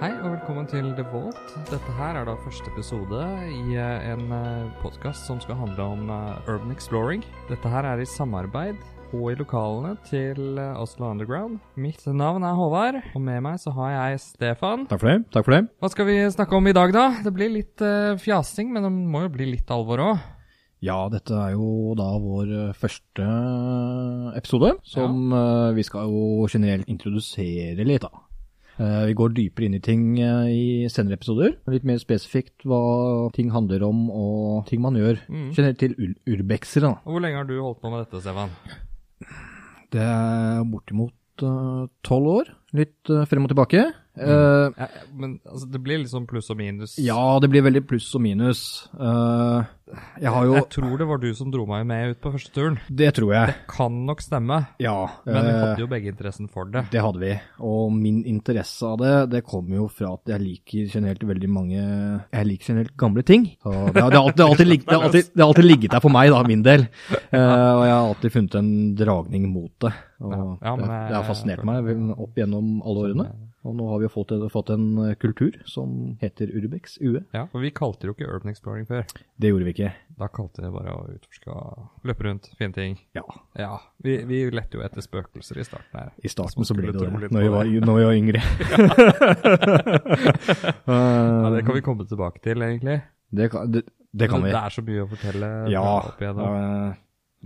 velkommen til The Vault. Dette her er da første episode i eh, en podkast som skal handle om eh, urban exploring. Dette her er i samarbeid og i lokalene til eh, Oslo Underground. Mitt navn er Håvard, og med meg så har jeg Stefan. Takk for det. takk for det. Hva skal vi snakke om i dag, da? Det blir litt eh, fjasing, men det må jo bli litt alvor òg. Ja, dette er jo da vår eh, første episode, som eh, vi skal jo generelt introdusere litt, da. Eh, Vi går dypere inn i ting eh, i senere episoder. Litt mer spesifikt hva ting handler om og ting man gjør. Generelt til ur urbexere, da. Hvor lenge har du holdt på med dette, Stefan? Det er bortimot eh, tolv år. Litt eh, frem og tilbake. Eh, Ja, ja, men altså, det blir liksom pluss og minus. ja, det blir veldig pluss og minus. Eh, jeg har jo Jeg tror det var du som dro meg med ut på første turen. Det tror jeg. Kan nok stemme. Ja. Men vi eh, hadde jo begge interessen for det. Det hadde vi, og min interesse av det, det kom jo fra at jeg liker generelt veldig mange Jeg liker generelt gamle ting. Så det, har, det, har alltid, det, har alltid, ligget- det, har alltid, det har alltid ligget der for meg, da, min del. Eh, og jeg har alltid funnet en dragning mot det. Og Ja, ja, men jeg- Sånn, det, det har fascinert meg opp gjennom alle årene. Og nå har vi jo fått, fått en eh, kultur som heter Urbex UE. Ja, for vi kalte det jo ikke Urban Exploring før. Det gjorde vi ikke. Da kalte vi det bare å utforske og løpe rundt, finne ting. Ja. Ja, vi, vi lette jo etter spøkelser i starten her. I starten så skulle ble det tro det, litt når vi på var, når vi var yngre. Ja, Eh, det kan vi komme tilbake til, egentlig. det, kan- det, det kan vi. Det er så mye å fortelle Ja. opp igjennom. eh,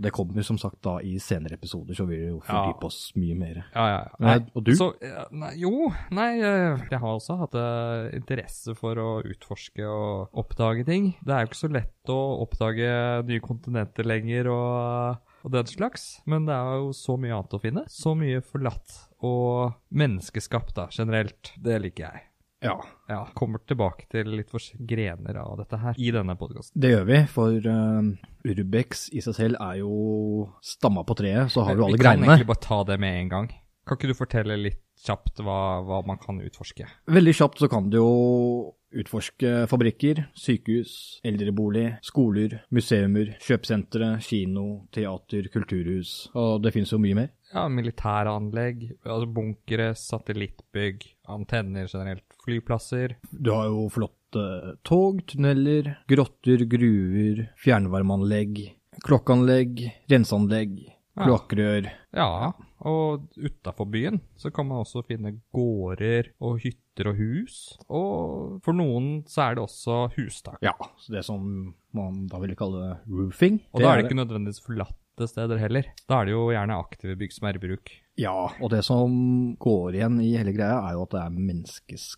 det kommer som sagt da i senere episoder, så vil vi jo Ja. fordype oss mye mer. Ja, ja, ja. Nei, og du? Så, ja, nei, jo, nei, eh, jeg har også hatt eh, interesse for å utforske og oppdage ting. Det er jo ikke så lett å oppdage nye kontinenter lenger og, eh, og den slags, men det er jo så mye annet å finne. Så mye forlatt og menneskeskapt da, generelt. Det liker jeg. Ja, Ja, kommer tilbake til litt for grener av dette her i denne podkasten. det gjør vi, for eh, Urbex i seg selv er jo stamma på treet, så har du alle Vi kan greinene. egentlig bare ta det med en gang. Kan ikke du fortelle litt kjapt hva, hva man kan utforske? Veldig kjapt så kan du jo utforske fabrikker, sykehus, eldrebolig, skoler, museumer, kjøpesentre, kino, teater, kulturhus, og det finnes jo mye mer. ja, militæranlegg, altså bunkere, satellittbygg, antenner generelt, flyplasser. Du har jo flotte tog, tunneller, grotter, gruver, fjernvarmeanlegg, klokkanlegg, renseanlegg, Ja. kloakkrør. Ja, og utafor byen så kan man også finne gårder og hytter og hus. Og for noen så er det også hustak. Ja, så det som man da ville kalle roofing. Og da er det ikke nødvendigvis forlatte steder heller. Da er det jo gjerne aktive bygg som er i bruk. Ja, og det som går igjen i hele greia, er jo at det er menneskeskapt.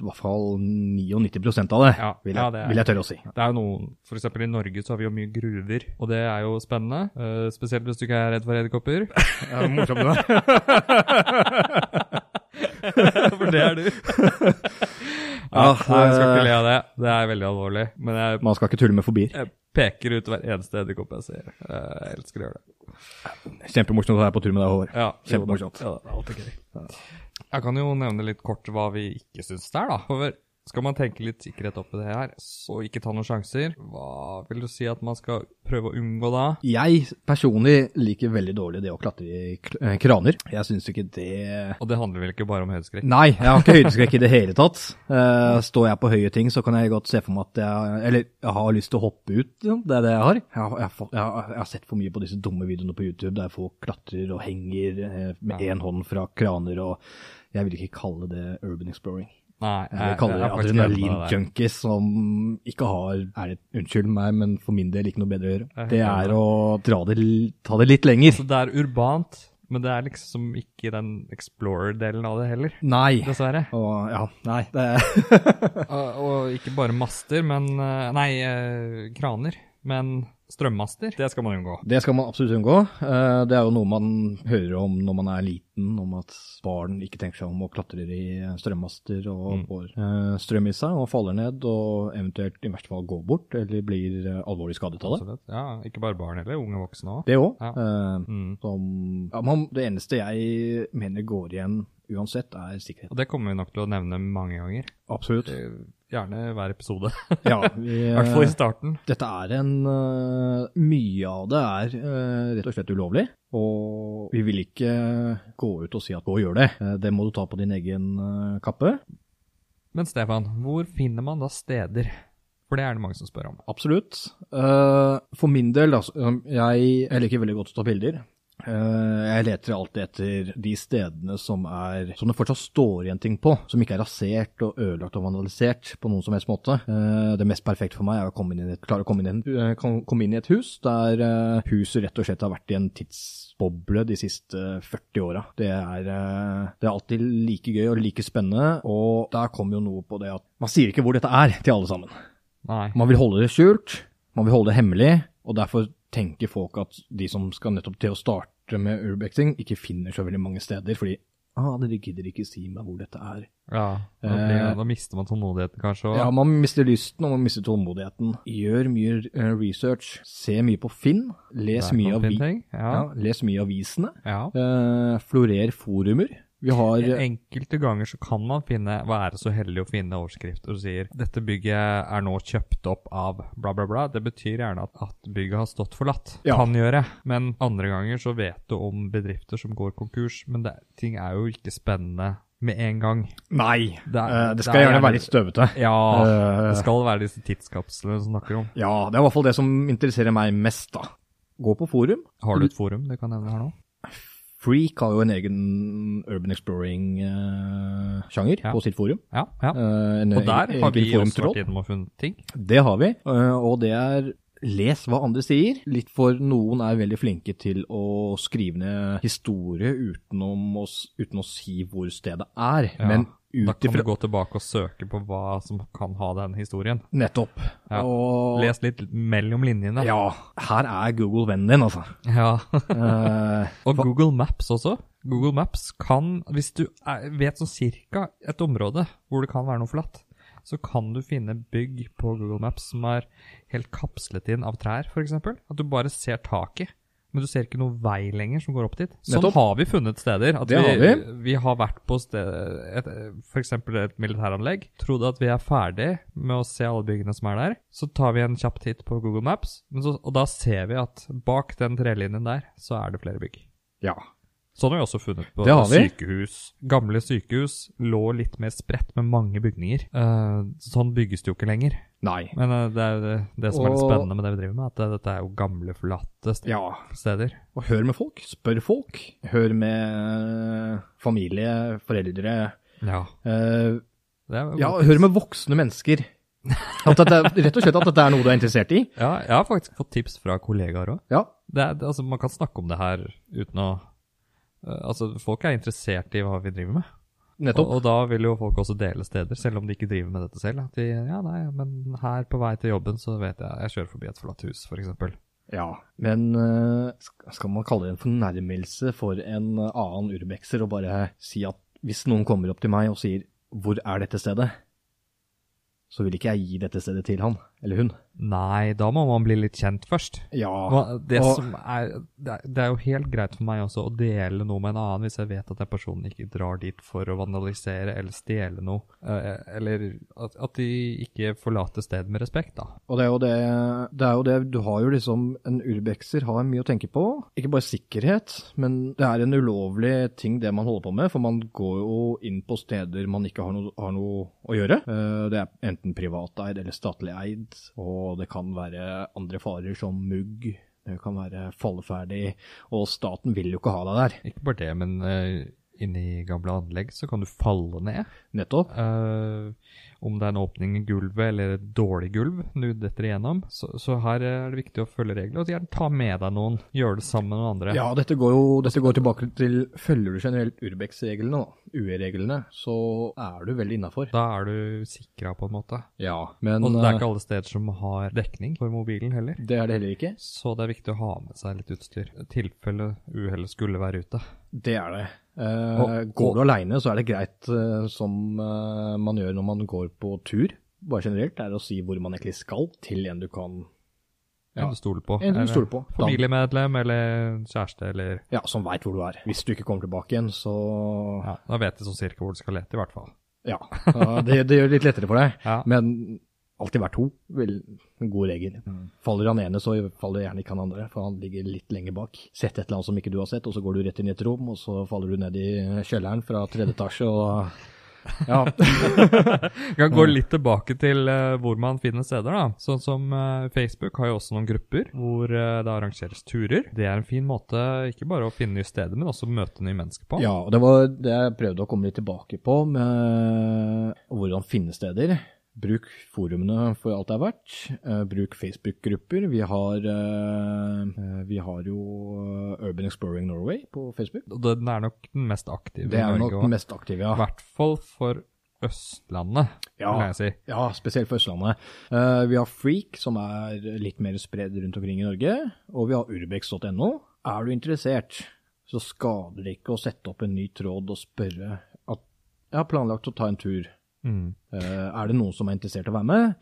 I hvert fall 99 av det, Ja, vil, jeg, ja, det er- vil jeg tørre å si. Det er jo noen, for eksempel i Norge så har vi jo mye gruver, og det er jo spennende. eh, spesielt hvis du ikke er redd for edderkopper. Ja, morsom du er. For det er du. Ah, eh. ja, Ja, eh, nei, jeg skal ikke le av det. Det er veldig alvorlig. Men jeg, Man skal ikke tulle med fobier. jeg peker ut hver eneste edderkopp jeg ser. Jeg elsker å gjøre det. Kjempemorsomt å være på tur med deg, Håvard. Ja, jo da. Kjempemorsomt. Ja, det er alltid gøy. Jeg kan jo nevne litt kort hva vi ikke syns der, da. For skal man tenke litt sikkerhet oppi det her, så ikke ta noen sjanser. Hva vil du si at man skal prøve å unngå da? Jeg personlig liker veldig dårlig det å klatre i kl- eh, kraner. Jeg syns ikke det Og det handler vel ikke bare om høydeskrekk? Nei, jeg har ikke høydeskrekk i det hele tatt. Eh, står jeg på høye ting, så kan jeg godt se for meg at jeg Eller jeg har lyst til å hoppe ut, ja. det er det jeg har. Jeg har, jeg har, fått- jeg har, jeg har sett for mye på disse dumme videoene på YouTube der folk klatrer og henger eh, med én hånd fra kraner og Jeg vil ikke kalle det urban exploring. Nei, Jeg jeg- kaller jeg det Eh, er faktisk enig med deg der. adrenalinjunkies som ikke har er det, Unnskyld meg, men for min del ikke noe bedre å gjøre. Jeg er helt Det enig. er å dra det, l- ta det litt lenger. Så det er urbant, men det er liksom ikke den explorer-delen av det heller, Nei. dessverre. Og ja, nei. Det er Og, og ikke bare master, men eh, Nei, eh, kraner. Men strømmaster, det skal man unngå. Det skal man absolutt unngå. Eh, Det er jo noe man hører om når man er liten, om at barn ikke tenker seg om og klatrer i strømmaster og Mm. får eh, strøm i seg og faller ned og eventuelt i verste fall går bort eller blir eh, alvorlig skadet av det. Absolutt. Ja, ikke bare barn heller, unge voksne Mm. òg. Det Eh, òg. Ja. Ja, man- det eneste jeg mener går igjen uansett, er sikkerhet. Og det kommer vi nok til å nevne mange ganger. Absolutt. Eh, Gjerne hver episode. Ja, I vi, eh, hvert fall i starten. Dette er en øh, Mye av det er øh, rett og slett ulovlig. Og vi vil ikke gå ut og si at gå og gjør det. Eh, Det må du ta på din egen øh, eh, kappe. Men Stefan, hvor finner man da steder? For det er det mange som spør om. Absolutt. Eh, for min del, altså, um, jeg, jeg liker veldig godt å ta bilder. Eh, jeg leter alltid etter de stedene som, er, som det fortsatt står igjen ting på, som ikke er rasert og ødelagt og vandalisert på noen som helst måte. Eh, det mest perfekte for meg er å komme inn i et, klare å komme inn, i en- eh, kom- komme inn i et hus der eh, huset rett og slett har vært i en tidsboble de siste 40 åra. Det, er, eh, det er alltid like gøy og like spennende, og der kom jo noe på det at man sier ikke hvor dette er til alle sammen. Nei. Man vil holde det skjult, man vil holde det hemmelig, og derfor tenker folk at de som skal nettopp til å starte med urbexing, ikke finner så veldig mange steder, fordi ah, dere gidder ikke si meg hvor dette er. Ja, da, blir, da mister man tålmodigheten kanskje. Og, Eh. Ja, man mister lysten, og man mister tålmodigheten. Gjør mye eh, research, se mye på Finn, les Det er mye, noen avi fine ting. ja. Ja. les mye avisene, ja. eh, florer forumer. Vi har eh, Enkelte ganger så kan man finne, være så heldig å finne overskrifter og sier dette bygget er nå kjøpt opp av bla, bla, bla. Det betyr gjerne at, at bygget har stått forlatt. Ja. Kan gjøre. Men andre ganger så vet du om bedrifter som går konkurs, men det, ting er jo ikke spennende med en gang. Nei, Det er- eh, det det skal er gjerne gjerne- være litt støvete. Ja, Eh. det skal være disse tidskapslene som snakker om. Ja, det er i hvert fall det som interesserer meg mest, da. Gå på forum. Har du et forum du kan nevne her nå? Freak har jo en egen urban exploring-sjanger Ja. på sitt forum. Ja, ja. Eh, en Og der egen- har vi også egen forumtråd. vært innom og funnet ting. Det har vi, eh, og det er Les hva andre sier, litt for noen er veldig flinke til å skrive ned historie utenom å, s- uten å si hvor stedet er. Ja, Men Da ut kan du ifra gå tilbake og søke på hva som kan ha den historien. Nettopp. Ja. Og Les litt mellom linjene. Ja, her er Google vennen din, altså. Ja. Eh, Og Google Maps også. Google Maps kan, hvis du er, vet sånn cirka et område hvor det kan være noe forlatt, så kan du finne bygg på Google Maps som er helt kapslet inn av trær, f.eks. At du bare ser taket, men du ser ikke noen vei lenger som går opp dit. Sånn Nettopp. har vi funnet steder. At Det har vi. vi. har vært på sted, f.eks. et militæranlegg. Trodde at vi er ferdig med å se alle byggene som er der. Så tar vi en kjapp titt på Google Maps, men så, og da ser vi at bak den trelinjen der, så er det flere bygg. ja. Sånn har vi også funnet på Det har vi. sykehus. Gamle sykehus lå litt mer spredt med mange bygninger. Eh, sånn bygges det jo ikke lenger. Nei. Men eh, det er jo det, det som er litt Og- spennende med det vi driver med, at det, dette er jo gamle, forlatte st- Ja. steder. Og hør med folk. Spør folk. Hør med eh, familie, foreldre. Ja. Eh, Det er, ja, hør med voksne mennesker. At dette, er- rett og slett at dette er noe du er interessert i. ja, jeg har faktisk fått tips fra kollegaer òg. Ja, Altså, man kan snakke om det her uten å eh, Altså, folk er interessert i hva vi driver med. Og, nettopp. og da vil jo folk også dele steder, selv om de ikke driver med dette selv. At de Ja, nei, men her på vei til jobben så vet jeg Jeg kjører forbi et forlatt hus, f.eks. Ja. Men eh, sk- skal man kalle det en fornærmelse for en annen urbexer og bare si at hvis noen kommer opp til meg og sier 'hvor er dette stedet', så vil ikke jeg gi dette stedet til han eller hun. Nei, da må man bli litt kjent først. Ja. Hva- Det, og- som er, det er- det er jo helt greit for meg også å dele noe med en annen hvis jeg vet at den personen ikke drar dit for å vandalisere eller stjele noe. eh, Eller at, at de ikke forlater stedet med respekt, da. Og det er jo det, det er jo det Du har jo liksom En urbexer har mye å tenke på. Ikke bare sikkerhet, men det er en ulovlig ting det man holder på med. For man går jo inn på steder man ikke har noe, har noe å gjøre. Eh, Det er enten privateid eller statlig eid, og det kan være andre farer som mugg. Det kan være falleferdig, og staten vil jo ikke ha deg der. Ikke bare det, men eh, inni gamle anlegg så kan du falle ned. Nettopp. Eh, om det er en åpning i gulvet eller et dårlig gulv du detter igjennom. Så, så her er det viktig å følge reglene. Og gjerne ta med deg noen. Gjøre det sammen med noen andre. Ja, dette går jo dette går tilbake til Følger du generelt Urbex-reglene, da, UE-reglene, så er du veldig innafor. Da er du sikra, på en måte. Ja, men Og det er eh, ikke alle steder som har dekning for mobilen heller. Det er det heller ikke. Så det er viktig å ha med seg litt utstyr, i tilfelle uhellet skulle være ute. Det er det. Eh, Og- går du aleine, så er det greit eh, som eh, man gjør når man går på tur, bare generelt, er å si hvor man egentlig skal, til en du kan Ja. En du stoler på. En du eller stoler på. Da- Familiemedlem eller kjæreste eller Ja, som veit hvor du er. Hvis du ikke kommer tilbake igjen, så ja, Da vet de sånn cirka hvor du skal lete, i hvert fall. Ja. Ja, det, det gjør det litt lettere for deg. Ja. Men alltid vær to. Vel, en god regel. Faller han ene, så faller gjerne ikke han andre, for han ligger litt lenger bak. Sett et eller annet som ikke du har sett, og så går du rett inn i et rom, og så faller du ned i kjelleren fra tredje etasje, og Ja. Vi kan Mm. gå litt tilbake til eh, hvor man finner steder. da. Sånn som eh, Facebook har jo også noen grupper hvor eh, det arrangeres turer. Det er en fin måte ikke bare å finne nye steder, men også møte nye mennesker på. ja, og det var det jeg prøvde å komme litt tilbake på, med hvordan finne steder. Bruk forumene for alt det er verdt. Eh, bruk Facebook-grupper. Vi, har, eh, eh, vi har jo eh, Urban Exploring Norway på Facebook. Og den er nok den mest aktive. Det i er Norge nok også. den mest aktive, I ja. hvert fall for Østlandet, Ja. vil jeg si. Ja, spesielt for Østlandet. Eh, vi har Freak, som er litt mer spredd rundt omkring i Norge. Og vi har urbex.no. Er du interessert, så skader det ikke å sette opp en ny tråd og spørre at jeg har planlagt å ta en tur. Mm. Eh, er det noen som er interessert i å være med?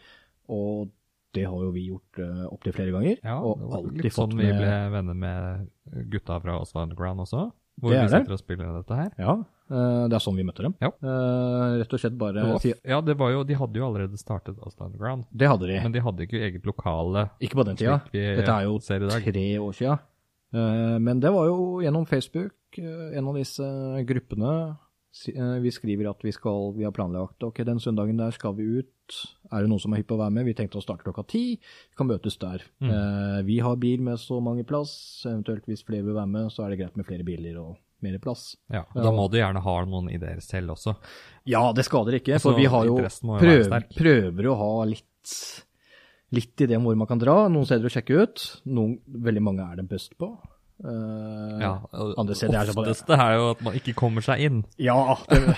Og det har jo vi gjort uh, opptil flere ganger. Ja, og det var alltid litt fått sånn vi med ble venner med gutta fra Oslo Underground også. Hvor Det vi er det. sitter og spiller dette her. Ja, eh, det er sånn vi møtte dem. Ja. Eh, rett og slett bare Det var, si ja, det var jo, De hadde jo allerede startet Oslo Underground, Det hadde de. men de hadde ikke eget lokale. Ikke på den tida. slik vi Dette er jo ser i dag. tre år sia. Eh, Men det var jo gjennom Facebook, eh, en av disse gruppene. Si- eh, Vi skriver at vi, skal, vi har planlagt ok, den søndagen der skal vi ut. Er det noen som er hypp på å være med? Vi tenkte å starte klokka ti. Vi kan møtes der. Mm. Eh, Vi har bil med så mange plass. Eventuelt hvis flere vil være med, så er det greit med flere biler og mer plass. Ja, og Da må de gjerne ha noen ideer selv også. Ja, det skader ikke, Altså, for vi har jo, interessen må jo være prøv, sterk. prøver å ha litt, litt idé om hvor man kan dra. Noen steder å sjekke ut. Noen, veldig mange er det best på. Eh, Ja, og andre steder er det bare Ofteste er jo at man ikke kommer seg inn Ja, det,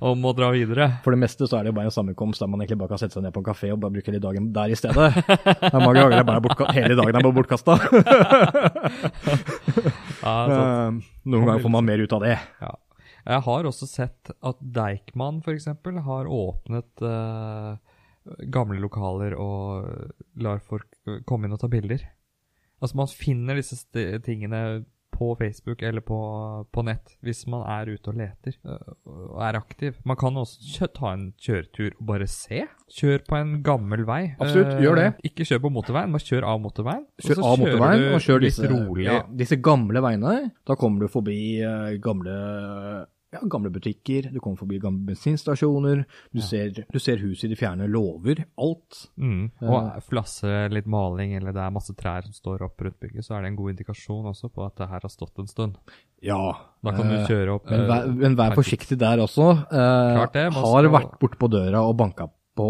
og må dra videre. for det meste så er det jo bare en sammenkomst der man egentlig bare kan sette seg ned på en kafé og bare bruke hele dagen der i stedet. Det er mange ganger det er bare bortka, hele dagen er bare bortkasta. Ja, så, Eh, Noen ganger får man mer ut av det. ja. Jeg har også sett at Deichman f.eks. har åpnet eh, gamle lokaler og lar folk komme inn og ta bilder. Altså Man finner disse st tingene på Facebook eller på, på nett hvis man er ute og leter eh, og er aktiv. Man kan også kjø ta en kjøretur og bare se. Kjør på en gammel vei. Absolutt, Eh, gjør det. Ikke kjør på motorveien, men kjør av motorveien. og Kjør så av kjører motorveien du og kjør litt disse, rolig. ja, disse gamle veiene. Da kommer du forbi eh, gamle, ja, gamle butikker, du kommer forbi gamle bensinstasjoner, du, ser, du ser huset i de fjerne låver. Alt. Mm. Og flasse litt maling, eller det er masse trær som står opp rundt bygget, så er det en god indikasjon også på at det her har stått en stund. Ja. Da kan du eh, kjøre opp Men vær, eh, men vær forsiktig der også. Eh, Klart det, man har skal- vært bort på døra og banka på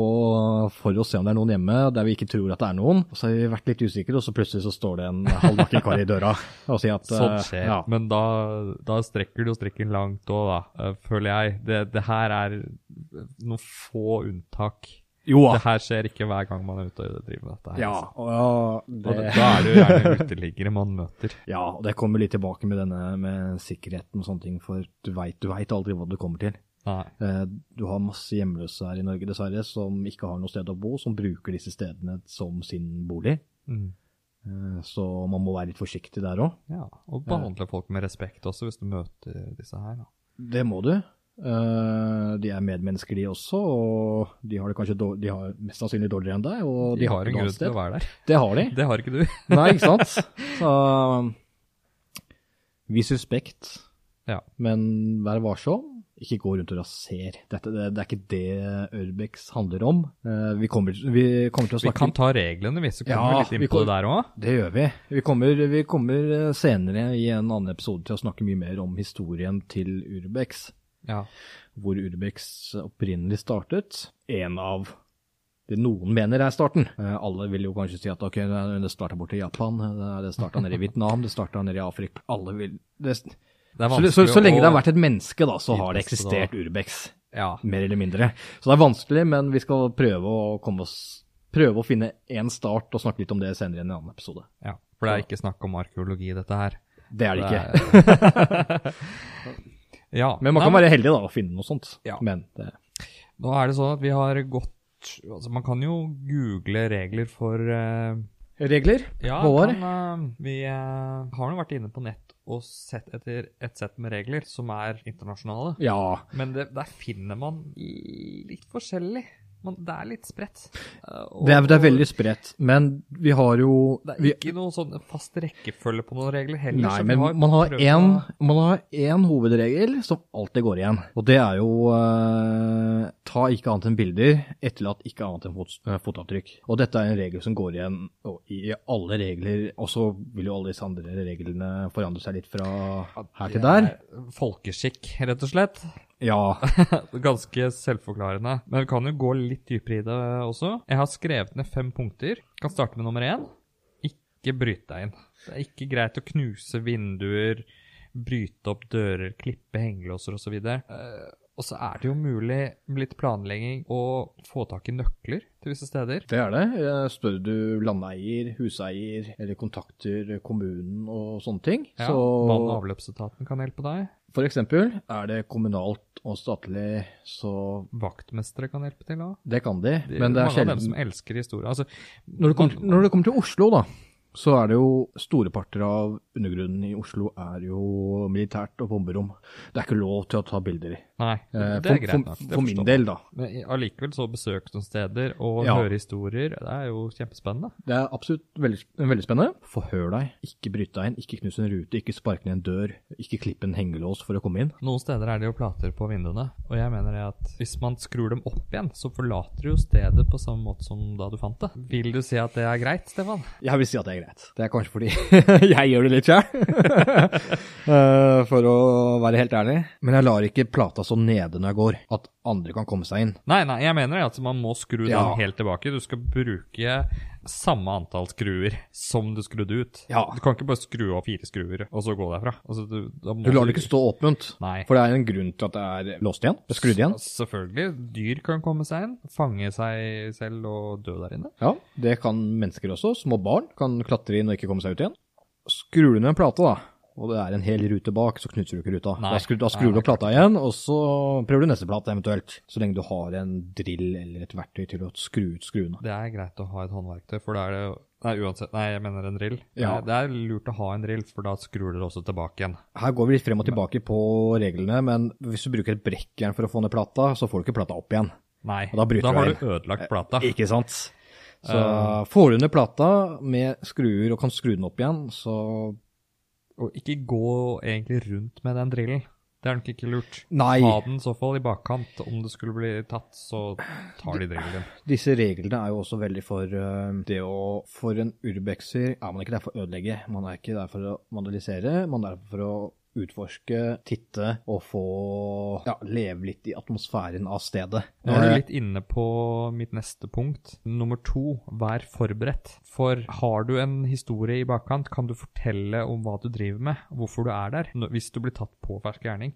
for å se om det er noen hjemme der vi ikke tror at det er noen. Og så har vi vært litt usikre, og så plutselig så står det en halvnaken kar i døra og sier at eh, Sånn skjer. ja. Men da, da strekker du jo strikken langt òg, da, eh, føler jeg. Det, det her er noen få unntak. Jo da. Det her skjer ikke hver gang man er ute og driver med dette. her. Ja, altså. og, det, Og det, da er det jo gjerne uteliggere man møter. Ja, og det kommer litt tilbake med denne med sikkerheten og sånne ting, for du veit du vet aldri hva du kommer til. Nei. Eh, Du har masse hjemløse her i Norge, dessverre, som ikke har noe sted å bo, som bruker disse stedene som sin bolig. Mm. Eh, Så man må være litt forsiktig der òg. Ja, Og behandle folk med respekt også, hvis du møter disse her. da. Det må du. Eh, De er medmennesker, de også, og de har det kanskje dårlig, de har mest sannsynlig dårligere enn deg. Og de, De har ikke en grunn noe annet til å sted. være der. Det har de. Det har ikke du. Nei, ikke sant? Så um, vis respekt. Ja. Men vær varsom. Ikke gå rundt og raser. Dette, det, det er ikke det Urbex handler om. Eh, vi, kommer, vi kommer til å Vi snakke kan ta reglene, vi, så kommer Ja, vi litt inn vi på kan- det der òg. Det gjør vi. Vi kommer, vi kommer eh, senere i en annen episode til å snakke mye mer om historien til Urbex. Ja. Hvor Urbex opprinnelig startet. En av det noen mener er starten. Eh, alle vil jo kanskje si at ok, det starta borte i Japan, eh, det starta nede i Vietnam, det starta nede i Afrika. Alle vil det, Det er så, så, vanskelig så lenge det har å- vært et menneske, da, så har det Menneske, da. eksistert Urbex. Ja. Mer eller mindre. Så det er vanskelig, men vi skal prøve å, komme oss, prøve å finne én start og snakke litt om det senere i en annen episode. ja. For det er ikke snakk om arkeologi, dette her. Det er det ikke. ja. Men man kan Nei, være heldig da og finne noe sånt. Ja. Men eh, det, Nå er det sånn at vi har gått Altså, man kan jo google regler for eh, regler? Ja, Håvard? kan, eh, vi eh, har nå vært inne på nett og sett etter et sett med regler som er internasjonale. Ja. Men det, der finner man litt forskjellig. Men det er litt spredt. Eh, og- Det er, det er veldig spredt, men vi har jo Det er vi, ikke noen sånn fast rekkefølge på noen regler heller. Nei, så vi men har man har, prøvd én, å- man har én hovedregel som alltid går igjen, og det er jo eh, ta ikke annet enn bilder, etterlatt ikke annet enn fot, eh, fotavtrykk. Og dette er en regel som går igjen og i alle regler, og så vil jo alle disse andre reglene forandre seg litt fra her til der. Det er Folkeskikk, rett og slett. Ja, Ganske selvforklarende. Men vi kan jo gå litt dypere i det også. Jeg har skrevet ned fem punkter. Kan starte med nummer én. Ikke bryt deg inn. Det er ikke greit å knuse vinduer, bryte opp dører, klippe hengelåser osv. Eh, Og så er det jo mulig med litt planlegging å få tak i nøkler til visse steder. det er det. Eh, Spør du landeier, huseier, eller kontakter kommunen og sånne ting, Ja, så Vann- og avløpsetaten kan hjelpe deg. For eksempel er det kommunalt og statlig, så Vaktmestere kan hjelpe til òg. det kan de, men det mange er av dem sjelden. som elsker historie. Altså, Når det, kommer, til- når det kommer til Oslo, da, så er det jo store parter av undergrunnen i Oslo er jo militært og bomberom. Det er ikke lov til å ta bilder i. Nei, Eh, det er for, greit nok. For, det for forstår min jeg. del, da. Men i- allikevel så besøke noen steder og Ja. høre historier, det er jo kjempespennende. Det er absolutt veldig, veldig spennende. Forhør deg, ikke bryt deg inn, ikke knus en rute, ikke spark ned en dør, ikke klipp en hengelås for å komme inn. Noen steder er det jo plater på vinduene, og jeg mener det at hvis man skrur dem opp igjen, så forlater du jo stedet på samme måte som da du fant det. Vil du si at det er greit, Stefan? Jeg vil si at det er greit. Det er kanskje fordi jeg gjør det litt sjøl, for å være helt ærlig. Men jeg lar ikke plata så nede når jeg går, at andre kan komme seg inn. Nei, nei, jeg mener det at man må skru Ja. den helt tilbake. Du skal bruke samme antall skruer som du skrudde ut. Ja. Du kan ikke bare skru opp fire skruer og så gå derfra. Altså, du, da må Du lar det ikke stå åpent, Nei. for det er en grunn til at det er låst igjen, det er skrudd igjen. Selvfølgelig. Dyr kan komme seg inn, fange seg selv og dø der inne. Ja, det kan mennesker også. Små barn kan klatre inn og ikke komme seg ut igjen. Skrur du ned en plate, da, og det er en hel rute bak, så knuser du ikke ruta. Nei. Da skrur, da Nei, skrur det du er opp plata igjen, og så prøver du neste plate eventuelt. Så lenge du har en drill eller et verktøy til å skru ut skruene. Det er greit å ha et håndverktøy, for da er det Nei, uansett. Nei, jeg mener en drill. Ja. Det er lurt å ha en drill, for da skrur dere også tilbake igjen. Her går vi litt frem og tilbake på reglene, men hvis du bruker et brekkjern for å få ned plata, så får du ikke plata opp igjen. Nei, Og da bryter du har veien. du ødelagt plata. Ikke sant? Så Eh. får du ned plata med skruer og kan skru den opp igjen, så Og ikke gå egentlig rundt med den drillen. Det er nok ikke lurt. Nei. Ta den i så fall i bakkant. Om det skulle bli tatt, så tar de drillen din. Disse reglene er jo også veldig for eh, det å For en urbexer er man ikke der for å ødelegge, man er ikke der for å vandalisere, man er der for å utforske, titte og få ja, leve litt i atmosfæren av stedet. Eh, Nå er du litt inne på mitt neste punkt. Nummer to, vær forberedt. For har du en historie i bakkant, kan du fortelle om hva du driver med, hvorfor du er der. Nå- Hvis du blir tatt på fersk gjerning,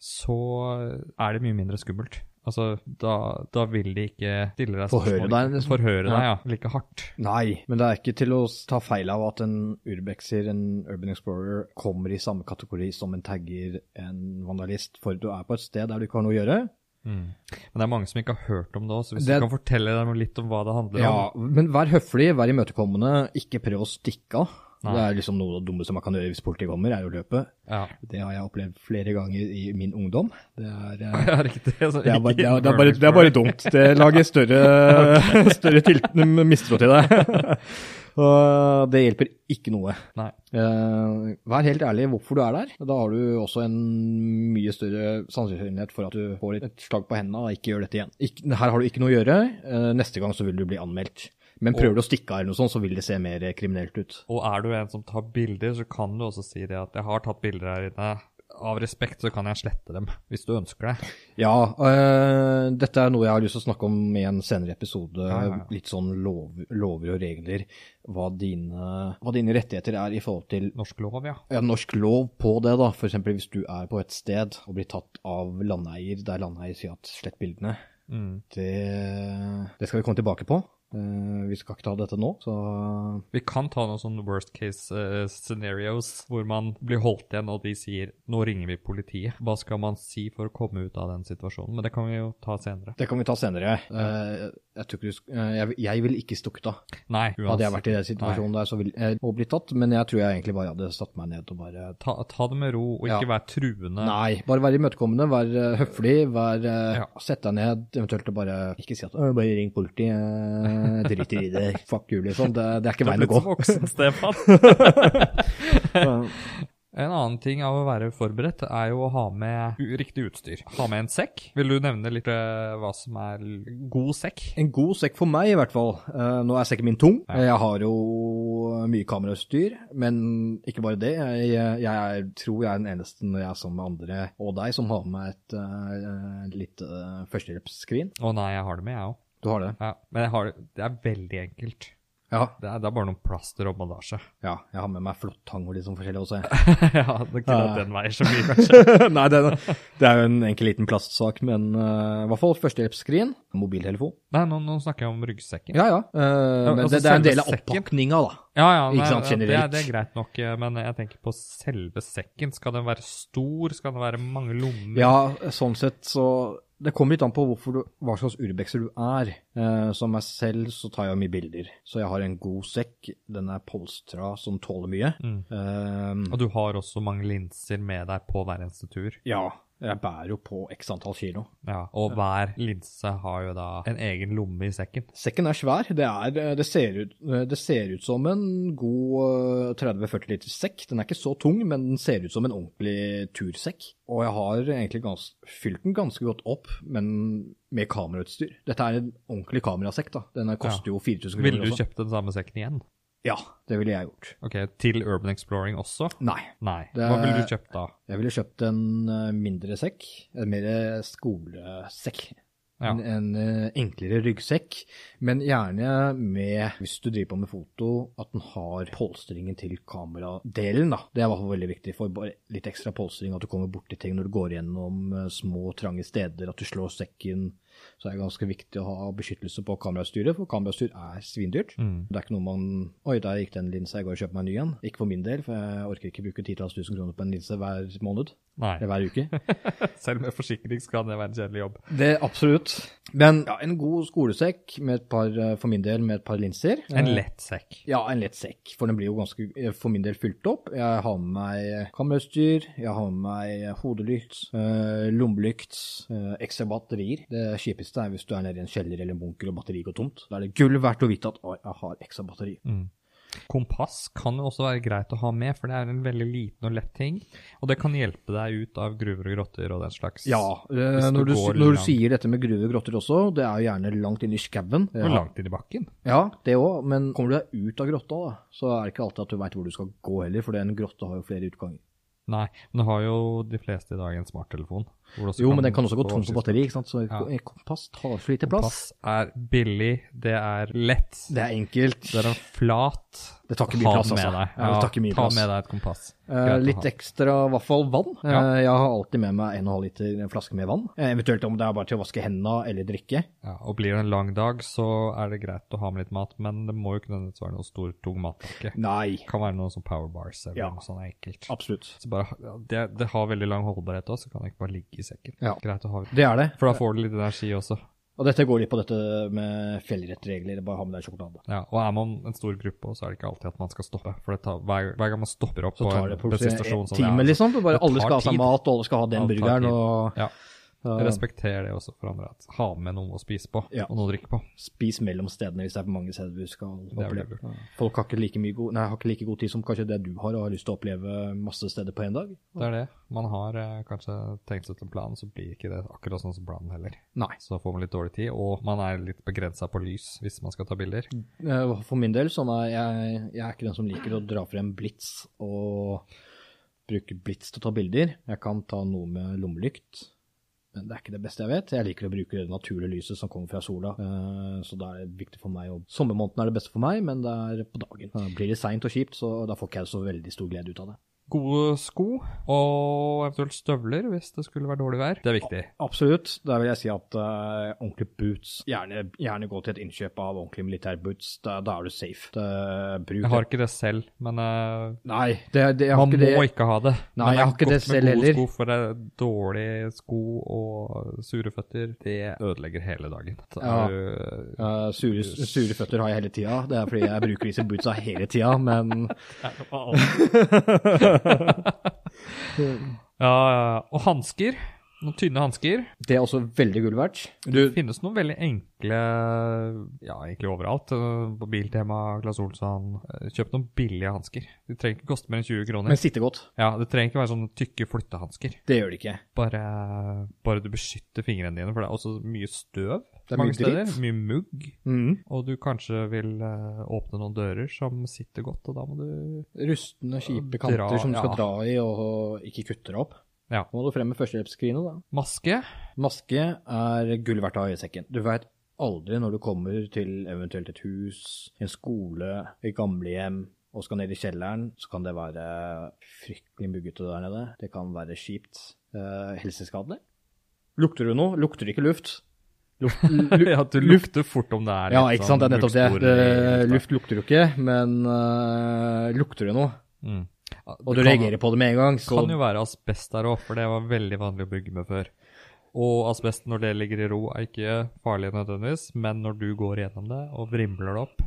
så er det mye mindre skummelt. Altså, da, da vil de ikke stille deg Forhøre spørsmål. deg, liksom. Forhøre Ja. deg, ja. Like hardt. Nei, men det er ikke til å ta feil av at en urbexer, en urban explorer, kommer i samme kategori som en tagger, en vandalist, for du er på et sted der du ikke har noe å gjøre. Men det er mange som ikke har hørt om det òg, så hvis Det- du kan fortelle dem litt om hva det handler Ja, om men vær høflig, vær imøtekommende, ikke prøv å stikke av. Nei. Det er liksom noe av det dummeste man kan gjøre hvis politiet kommer, er å løpe. Ja, Det har jeg opplevd flere ganger i min ungdom. Det er, eh, ja riktig. Altså, det er, bare, ikke det er, det er, bare, det er bare dumt. Det lager større, større til, mistro til deg. Og det hjelper ikke noe. Nei. Eh, vær helt ærlig hvorfor du er der. Da har du også en mye større sannsynlighet for at du får et- et slag på hendene og ikke gjør dette igjen. Ikk- her har du ikke noe å gjøre. Eh, neste gang så vil du bli anmeldt. Men prøver du å stikke av eller noe sånt, så vil det se mer kriminelt ut. Og er du en som tar bilder, så kan du også si det at jeg har tatt bilder her inne. Av respekt så kan jeg slette dem, hvis du ønsker det. Ja, eh, dette er noe jeg har lyst til å snakke om i en senere episode. Ja, ja, ja. Litt sånn lov, lover og regler. Hva dine, hva dine rettigheter er i forhold til Norsk lov, ja. ja, norsk lov på det, da. F.eks. hvis du er på et sted og blir tatt av landeier, der landeier sier at slett bildene. Mm. Det, det skal vi komme tilbake på. Eh, Vi skal ikke ta dette nå, så Vi kan ta noen sånne worst case eh, scenarios hvor man blir holdt igjen og de sier 'nå ringer vi politiet'. Hva skal man si for å komme ut av den situasjonen? Men det kan vi jo ta senere. det kan vi ta senere. jeg. Eh, Jeg, tror ikke du, sk- eh, jeg, vil- jeg ville ikke stukket av. Nei, uansett. Hadde jeg vært i den situasjonen der, så ville jeg og blitt tatt, men jeg tror jeg egentlig bare hadde satt meg ned og bare Ta, ta det med ro, og Ja. ikke vær truende. Nei, bare være imøtekommende, vær eh, høflig, vær eh, Ja. Sett deg ned, eventuelt og bare Ikke si at «Å, 'bare ring politiet', eh, driter i det, fuck you, liksom. Det, det er ikke Du er blitt veien å gå. så voksen, Stefan. En annen ting av å være forberedt er jo å ha med u- riktig utstyr. Ha med en sekk. Vil du nevne litt eh, hva som er l- god sekk? En god sekk for meg, i hvert fall. Eh, nå er sekken min tung. Ja. Eh, Jeg har jo mye kamerautstyr, men ikke bare det. Jeg, jeg, jeg tror jeg er den eneste når jeg er sammen med andre og deg, som har med et eh, lite eh, førstehjelpsskrin. Å nei, jeg har det med, jeg òg. Du har det? Ja, men jeg har det. det er veldig enkelt. Ja. Det er, det er bare noen plaster og bandasje. ja. Jeg har med meg flåttang og litt sånn forskjellig også. jeg. ja, det kunne Ja. at den veier så mye, kanskje. Nei, det, det er jo en enkel liten plastsak, men eh, i hvert fall førstehjelpsskrin, mobiltelefon. Nei, nå, nå snakker jeg om ryggsekken. Ja, ja. eh, Ja, men altså det, det er en del selve av sekken. oppakninga, da. ja, ja, ja, Ikke sant, det, er- generelt. det er greit nok, eh, men jeg tenker på selve sekken. Skal den være stor? Skal den være mange lommer? Ja, sånn sett så Det kommer litt an på hvorfor du, hva slags urbekser du er. Eh, som meg selv så tar jeg mye bilder. Så jeg har en god sekk. Den er polstra som tåler mye. Mm. Eh, Og du har også mange linser med deg på hver eneste tur. ja. Jeg bærer jo på x antall kilo. Ja, og hver linse har jo da en egen lomme i sekken. Sekken er svær. Det, er, eh, det, ser, ut, det ser ut som en god eh, 30-40 liters sekk. Den er ikke så tung, men den ser ut som en ordentlig tursekk. Og jeg har egentlig gans, fylt den ganske godt opp, men med kamerautstyr. Dette er en ordentlig kamerasekk, da. Den her koster jo 4000 kroner. Ville du også. kjøpt den samme sekken igjen? Ja, det ville jeg gjort. Ok, Til Urban Exploring også? Nei. Nei. Det- Hva ville du kjøpt da? Jeg ville kjøpt en eh, mindre sekk, en mer skolesekk. Ja. En, en eh, enklere ryggsekk, men gjerne med, hvis du driver på med foto, at den har polstringen til kameradelen. da. Det er i hvert fall veldig viktig. For bare litt ekstra polstring, at du kommer borti ting når du går gjennom eh, små, trange steder, at du slår sekken. Så er det ganske viktig å ha beskyttelse på kamerautstyret, for kamerautstyr er svindyrt. Mm. Det er ikke noe man Oi, der gikk den linsa, jeg går og kjøper meg en ny en. Ikke for min del, for jeg orker ikke bruke titalls tusen kroner på en linse hver måned. Nei. Eller hver uke. Selv med forsikring skal det være en kjedelig jobb. Det Absolutt. Men ja, en god skolesekk med et par, eh, for min del, med et par linser. En Eh, lett sekk. Ja, en lett sekk, for den blir jo ganske, eh, for min del, fylt opp. Jeg har med meg kamerautstyr, jeg har med meg hodelykt, eh, lommelykt, eh, ekstra batterier. Det kjipeste er hvis du er nede i en kjeller eller en bunker og batteriet går tomt. Da er det gull verdt å vite at «Oi, jeg har ekstra batteri. Mm. Kompass kan jo også være greit å ha med, for det er en veldig liten og lett ting. Og det kan hjelpe deg ut av gruver og grotter og den slags. Ja, eh, du når, du, går når du langt. sier dette med gruver og grotter også, det er jo gjerne langt inn i skauen. Og langt inn i bakken. Ja, det òg, men kommer du deg ut av grotta, da, så er det ikke alltid at du veit hvor du skal gå heller, for en grotte har jo flere utganger. Nei, men du har jo de fleste i dag en smarttelefon. hvor du også Jo, men den kan også gå få tom for oversikt. batteri, ikke sant, så Ja. en kompass tar så lite Kompass plass. er billig, det er lett, Det er enkelt. det er en flat Det tar ikke mye Ha plass, den altså. med deg. Ja, det tar ikke mye ta plass. med deg et kompass. Eh, Greit å litt ha. ekstra, i hvert fall, vann. Ja. Eh, jeg har alltid med meg 1,5 liter flaske med vann. Eh, eventuelt om det er bare til å vaske hendene eller drikke. Ja, og blir det en lang dag, så er det greit å ha med litt mat, men det må jo ikke nødvendigvis være noe stor, tung matpakke. Nei. Det kan være noe som power bars eller Ja. noe sånt enkelt. Absolutt. Så bare, ja, det, det har veldig lang holdbarhet også, så kan det ikke bare ligge i sekken. Ja. Greit å ha Det er det. For da får du litt energi også. Og dette går litt på dette med fjellrettregler, bare ha med deg sjokolade. Ja, og er man en stor gruppe, også, så er det ikke alltid at man skal stoppe. For det tar, hver, hver gang man stopper opp Så tar det en plutselig en bensinstasjon som det time, er, så- liksom. Bare det tar alle skal ha seg tid. mat, og alle skal ha den Ja, det tar burgeren, tid. og Ja, Ja. respekter det også for andre. At ha med noe å spise på, Ja. og noe å drikke på. spis mellom stedene hvis det er for mange steder du skal Det er vel oppleve. Folk har ikke, like mye god, nei, har ikke like god tid som kanskje det du har, og har lyst til å oppleve masse steder på én dag. Det er det. Man har eh, kanskje tenkt seg til en plan, så blir ikke det akkurat sånn som planen heller. Nei. Så da får man litt dårlig tid, og man er litt begrensa på lys hvis man skal ta bilder. Eh, For min del sånn er jeg, jeg er ikke den som liker å dra frem blits og bruke blits til å ta bilder. Jeg kan ta noe med lommelykt, men det er ikke det beste jeg vet. Jeg liker å bruke det naturlige lyset som kommer fra sola, eh, så da er det viktig for meg. å- Sommermåneden er det beste for meg, men det er på dagen. Eh, Blir det seint og kjipt, så da får ikke jeg så veldig stor glede ut av det. Gode sko og eventuelt støvler hvis det skulle være dårlig vær. Det er viktig. Absolutt. Der vil jeg si at eh, ordentlige boots gjerne, gjerne gå til et innkjøp av ordentlige militærboots. Da, da er du safe. Det, bruk Jeg har ikke det selv, men eh, Nei, det, det, jeg har man ikke det. må ikke ha det. Nei, Men jeg har det er ikke det godt med selv gode heller. Sko, for det er dårlige sko og sure føtter, det ødelegger hele dagen. Så Ja. er du- Eh, sure, sure føtter har jeg hele tida. Det er fordi jeg bruker disse bootsa hele tida, men ja, ja. Og hansker. Noen tynne hansker. det er også veldig gull verdt. Du, Det finnes noen veldig enkle ja, egentlig overalt. eh, På Biltema, Claes Olsson. eh, Kjøp noen billige hansker. De trenger ikke koste mer enn 20 kroner. men sitter godt. Ja, Det trenger ikke være sånne tykke flyttehansker. Det gjør det ikke. Bare, bare du beskytter fingrene dine, for det er også mye støv Det er mange mye dritt. steder. Mye mugg. Mm. Og du kanskje vil eh, åpne noen dører som sitter godt, og da må du Rustne, Dra- kjipe kanter som du ja. skal dra i og ikke kutte deg opp. Ja. Nå må du frem med førstehjelpsskrinet, da. Maske. Maske er gull verdt av øyesekken. Du veit aldri når du kommer til eventuelt et hus, en skole, et gamlehjem og skal ned i kjelleren, så kan det være fryktelig muggete der nede. Det kan være kjipt. Eh, helseskadelig. Lukter du noe? Lukter ikke luft? Lukt, lu, Ja, du lukter fort om det er ja, litt ikke sånn sant. Det er nettopp det. muggspor Eh, i lufta. Luft lukter du ikke, men eh, lukter du noe, Mm. Ja, og du det kan- reagerer på det med en gang, så kan jo være asbest der òg, for det var veldig vanlig å bygge med før. Og asbest når det ligger i ro, er ikke farlig nødvendigvis, men når du går gjennom det og vrimler det opp,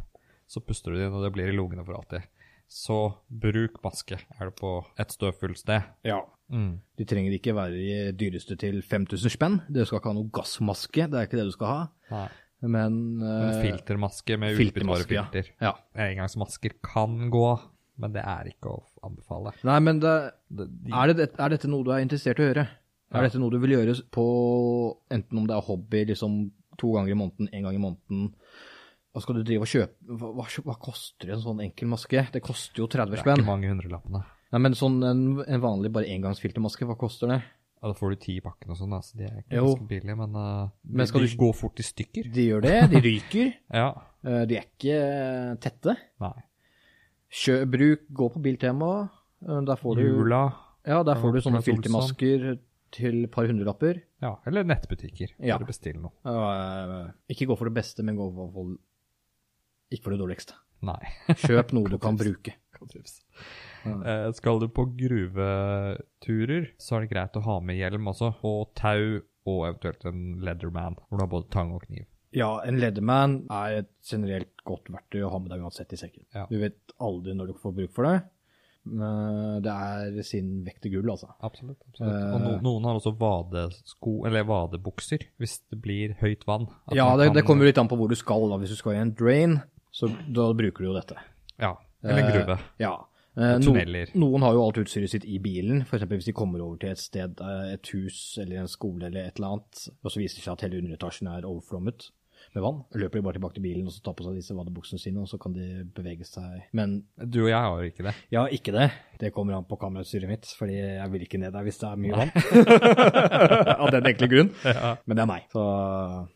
så puster du det inn, og det blir i lungene for alltid. Så bruk maske, er det på et støvfullt sted. ja. Mm. Du trenger ikke være i dyreste til 5000 spenn. Du skal ikke ha noe gassmaske, det er ikke det du skal ha. Nei. Men En eh, filtermaske med utbyttbare filtermaske, ja. filter. ja. Engangsmasker kan gå, men det er ikke å anbefale. Nei, men det, Det- de- er, det, er dette noe du er interessert i å gjøre? Ja. Er dette noe du vil gjøre på enten om det er hobby liksom to ganger i måneden, én gang i måneden? Hva skal du drive og kjøpe? Hva, hva, hva koster en sånn enkel maske? Det koster jo 30 Det er spenn. ikke mange hundrelappene. Nei, men sånn en, en vanlig bare engangsfiltermaske, hva koster det? Ja, da får du ti i pakken og sånn, da, så de er ikke Jo. ganske billige, men, uh, Men skal de, du- de går fort i stykker. De gjør det, de ryker. Ja. eh, De er ikke tette. Nei. Kjø, bruk, gå på Biltema. eh, Der får du, Jula. ja, der får du sånne Claes Olsson. filtermasker til et par hundrelapper. Ja, eller nettbutikker. Ja. Bare bestill noe. Eh, Ikke gå for det beste, men gå for, for ikke for det dårligste. Nei. Kjøp noe du kan bruke. Kan trives. Ja. Eh, skal du på gruveturer, så er det greit å ha med hjelm også, og tau, og eventuelt en leatherman, hvor du har både tang og kniv. Ja, en leatherman er et generelt godt verktøy å ha med deg uansett i sekken. Ja. Du vet aldri når du får bruk for det. Men eh, det er sin vekt i gull, altså. Absolutt. Og no, Eh. noen har også vadesko, eller vadebukser, hvis det blir høyt vann. At Ja, man det, kan- det kommer jo litt an på hvor du skal. da. Hvis du skal i en drain, så da bruker du jo dette. Ja, eller en Eh, gruve. Ja. Eh, no, tunneler. noen har jo alt utstyret sitt i bilen, f.eks. hvis de kommer over til et sted, eh, et hus eller en skole eller et eller annet, og så viser det seg at hele underetasjen er overflommet med vann. Løper de bare tilbake til bilen og så tar på seg disse vadebuksene sine, og så kan de bevege seg. Men Du og jeg har jo ikke det. ja, ikke det. Det kommer an på kamerautstyret mitt, fordi jeg vil ikke ned der hvis det er mye vann. Av den enkle grunn. Men det er meg. Så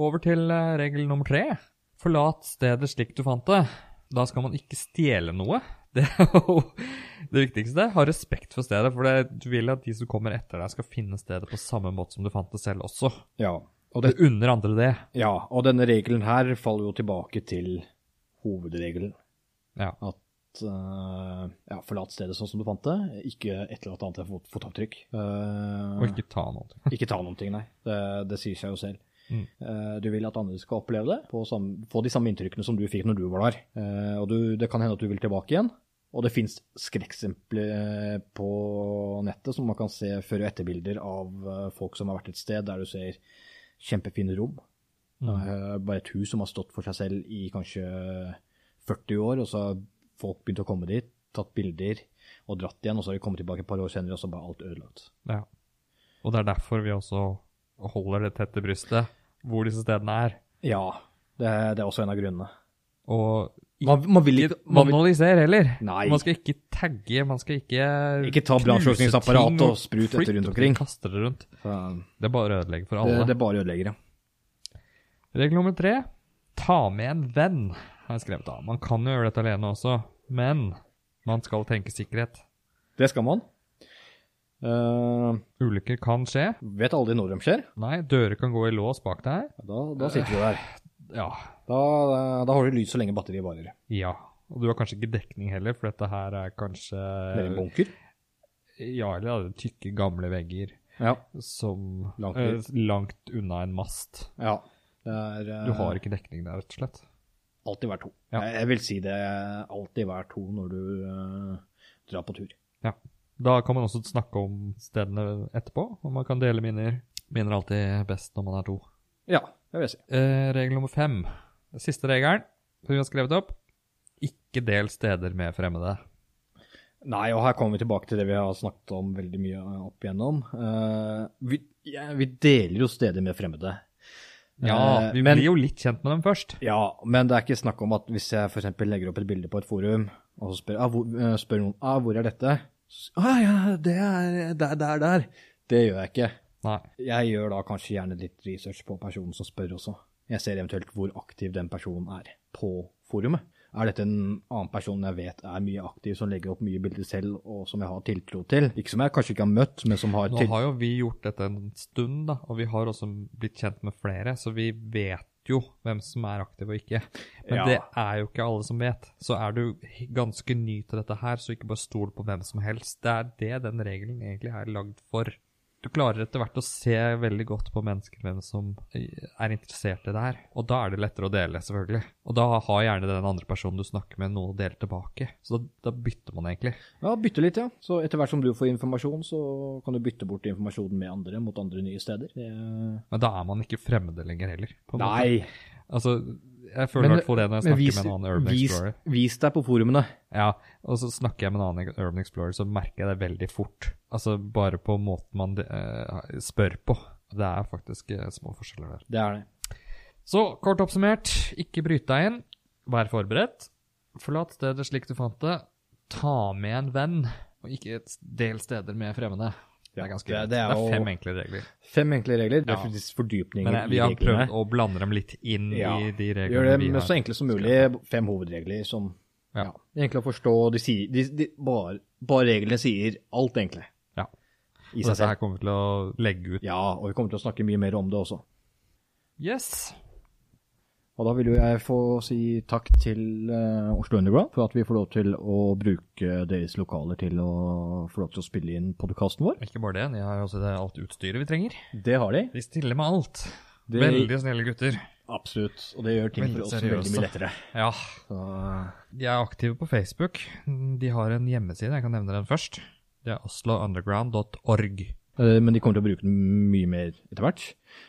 Over til eh, regel nummer tre. Forlat stedet slik du fant det. Da skal man ikke stjele noe. Det er jo det viktigste. Ha respekt for stedet, for det, du vil at de som kommer etter deg, skal finne stedet på samme måte som du fant det selv også. ja. Og, Du det, unner andre det. ja. og denne regelen her faller jo tilbake til hovedregelen. Ja. At eh, ja, forlat stedet sånn som du fant det. Ikke etterlat annet enn fot- fotavtrykk. Eh, Og ikke ta noe. Ikke ta noen ting, nei. Det, det sier seg jo selv. Mm. Eh, Du vil at andre skal oppleve det, på samme, få de samme inntrykkene som du fikk når du var der. Eh, Og du, det kan hende at du vil tilbake igjen. Og det fins skrekkeksempler eh, på nettet som man kan se før- og etterbilder av eh, folk som har vært et sted der du ser kjempefine rom. Eh, Bare et hus som har stått for seg selv i kanskje 40 år, og så har folk begynt å komme dit, tatt bilder og dratt igjen, og så har de kommet tilbake et par år senere, og så bare alt ødelagt. Ja. Og det er derfor vi også holder det tett til brystet, hvor disse stedene er. Ja, det, det er også en av grunnene. Og Man, man vil ikke ikke man vil, banalisere heller. Nei. Man skal ikke tagge, man skal ikke Ikke ta knuse brannslukningsapparat ting og sprut etter flytte rundt omkring. og Kaste det rundt. Faen. Det er bare å ødelegge for det, alle. det er bare ødeleggere. Regel nummer tre. Ta med en venn, har jeg skrevet da. Man kan jo gjøre dette alene også, men man skal tenke sikkerhet. Det skal man. Eh, Ulykker kan skje. vet aldri når de skjer. Nei, dører kan gå i lås bak deg. Da, da sitter du der. Ja. Da, da har du lyd så lenge batteriet varer. Ja. Og du har kanskje ikke dekning heller, for dette her er kanskje Nede i en bunker. Ja, eller ja, tykke, gamle vegger Ja. som Langt eh, langt unna en mast. ja. Det er eh, Du har ikke dekning der, rett og slett. alltid hver to. Ja. Jeg, jeg vil si det er alltid hver to når du eh, drar på tur. Ja. Da kan man også snakke om stedene etterpå, og man kan dele minner. Minner er alltid best når man er to. Ja, det vil jeg si. Eh, regel nummer fem. Siste regelen som vi har skrevet opp. Ikke del steder med fremmede. Nei, og her kommer vi tilbake til det vi har snakket om veldig mye eh, opp igjennom. Eh, vi, ja, vi deler jo steder med fremmede. Ja, Eh, vi men, blir jo litt kjent med dem først. Ja, men det er ikke snakk om at hvis jeg for eksempel legger opp et bilde på et forum, og så spør, ah, hvor, eh, spør noen ah, 'hvor er dette?' Så, ah, ja, det er der, der, der. Det gjør jeg ikke. Nei. Jeg gjør da kanskje gjerne litt research på personen som spør også. Jeg ser eventuelt hvor aktiv den personen er på forumet. Er dette en annen person jeg vet er mye aktiv, som legger opp mye bilder selv, og som jeg har tiltro til? Ikke som jeg kanskje ikke har møtt, men som har Nå til... har jo vi gjort dette en stund, da, og vi har også blitt kjent med flere, så vi vet jo hvem som er aktiv og ikke. Men Ja. det er jo ikke alle som vet. Så er du h- ganske ny til dette her, så ikke bare stol på hvem som helst. Det er det den regelen egentlig er lagd for. Du klarer etter hvert å se veldig godt på mennesker hvem som eh, er interessert i det her. Og da er det lettere å dele, selvfølgelig. Og da har gjerne den andre personen du snakker med, noe å dele tilbake. Så da, da bytter man egentlig. Ja, bytte litt, ja. Så etter hvert som du får informasjon, så kan du bytte bort informasjonen med andre mot andre nye steder. Det- Men da er man ikke fremmede lenger heller. på en måte. Nei, Altså, jeg føler i hvert fall det når jeg snakker med en annen Urban vis, Explorer. Vis deg på forumene. Ja, og så snakker jeg med en annen Urban Explorer, så merker jeg det veldig fort. Altså, bare på måten man eh, spør på. Det er faktisk eh, små forskjeller der. Det er det. Så, kort oppsummert, ikke bryt deg inn. Vær forberedt. Forlat stedet slik du fant det. Ta med en venn, og ikke et del steder med fremmede. Det Ja, er ganske det- greit. det Det, er jo- er fem enkle regler. Fem enkle regler. Det Ja. er faktisk fordypninger Men eh, vi i har reglene. prøvd å blande dem litt inn i de Gjør reglene det vi med har. så enkle som mulig. Fem hovedregler som Ja. ja. enkle å forstå. De sier, de, de, bare, bare reglene sier alt, egentlig. Ja. I Og seg dette her selv. kommer vi til å legge ut. Ja, og vi kommer til å snakke mye mer om det også. Yes. Og da vil jo jeg få si takk til eh, Oslo Underground for at vi får lov til å bruke deres lokaler til å få lov til å spille inn podkasten vår. Ikke bare det, de har jo også det, alt utstyret vi trenger. Det har de. De stiller med alt. Det- Veldig snille gutter. Absolutt. Og det gjør ting for Veldig oss veldig mye seriøse. lettere. Ja. Så, De er aktive på Facebook. De har en hjemmeside, jeg kan nevne den først. Det er oslounderground.org. eh, men de kommer til å bruke den mye mer etter hvert.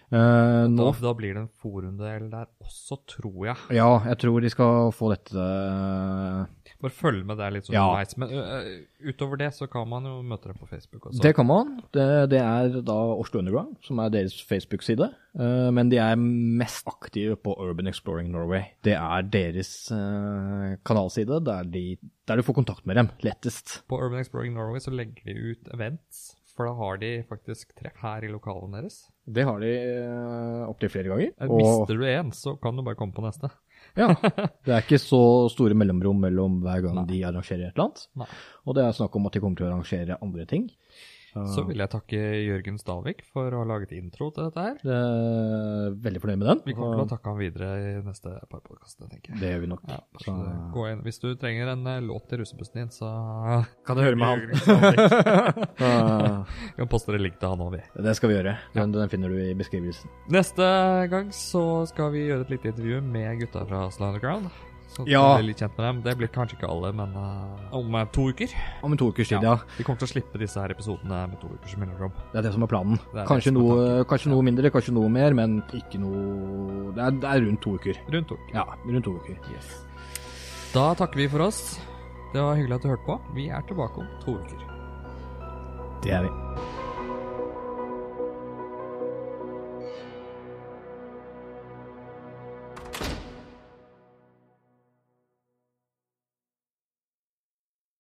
Eh, Da, nå da blir det en forumdel der også, tror jeg. Ja, jeg tror de skal få dette eh, Bare følg med der litt sånn Ja. underveis. Men ø, ø, utover det så kan man jo møte dem på Facebook også. Det kan man. Det, det er da Oslo Underground, som er deres Facebook-side. Eh, men de er mest aktive på Urban Exploring Norway. Det er deres eh, kanalside, der, de, der du får kontakt med dem lettest. På Urban Exploring Norway så legger de ut events, for da har de faktisk treff her i lokalene deres. Det har de uh, opptil flere ganger. Og, Mister du én, så kan du bare komme på neste. ja, det er ikke så store mellomrom mellom hver gang de arrangerer et eller annet. Nei. Og det er snakk om at de kommer til å arrangere andre ting. Så vil jeg takke Jørgen Stavik for å ha laget intro til dette her. Jeg er veldig fornøyd med den. Vi kommer til å takke han videre i neste par podkaster, tenker jeg. Det gjør vi nok. Ja, så Så- gå inn. Hvis du trenger en eh, låt til russebussen din, så kan du høre med han. Ah, Vi kan poste det link til han òg, vi. det skal vi gjøre. Den, den finner du i beskrivelsen. Neste gang så skal vi gjøre et lite intervju med gutta fra Slanderground. Så du Ja. blir litt kjent med dem. Det blir kanskje ikke alle, men eh, om eh, to uker. Om to ukers tid, ja. Vi kommer til å slippe disse her episodene med to ukers mellomrom. Det er det som er planen. er det Kanskje som er noe, kanskje noe mindre, kanskje noe mer, men ikke noe Det er, det er rundt to uker. Rundt to uker. Ja, rundt to uker. Da takker vi for oss. Det var hyggelig at du hørte på. Vi er tilbake om to uker. Det er vi.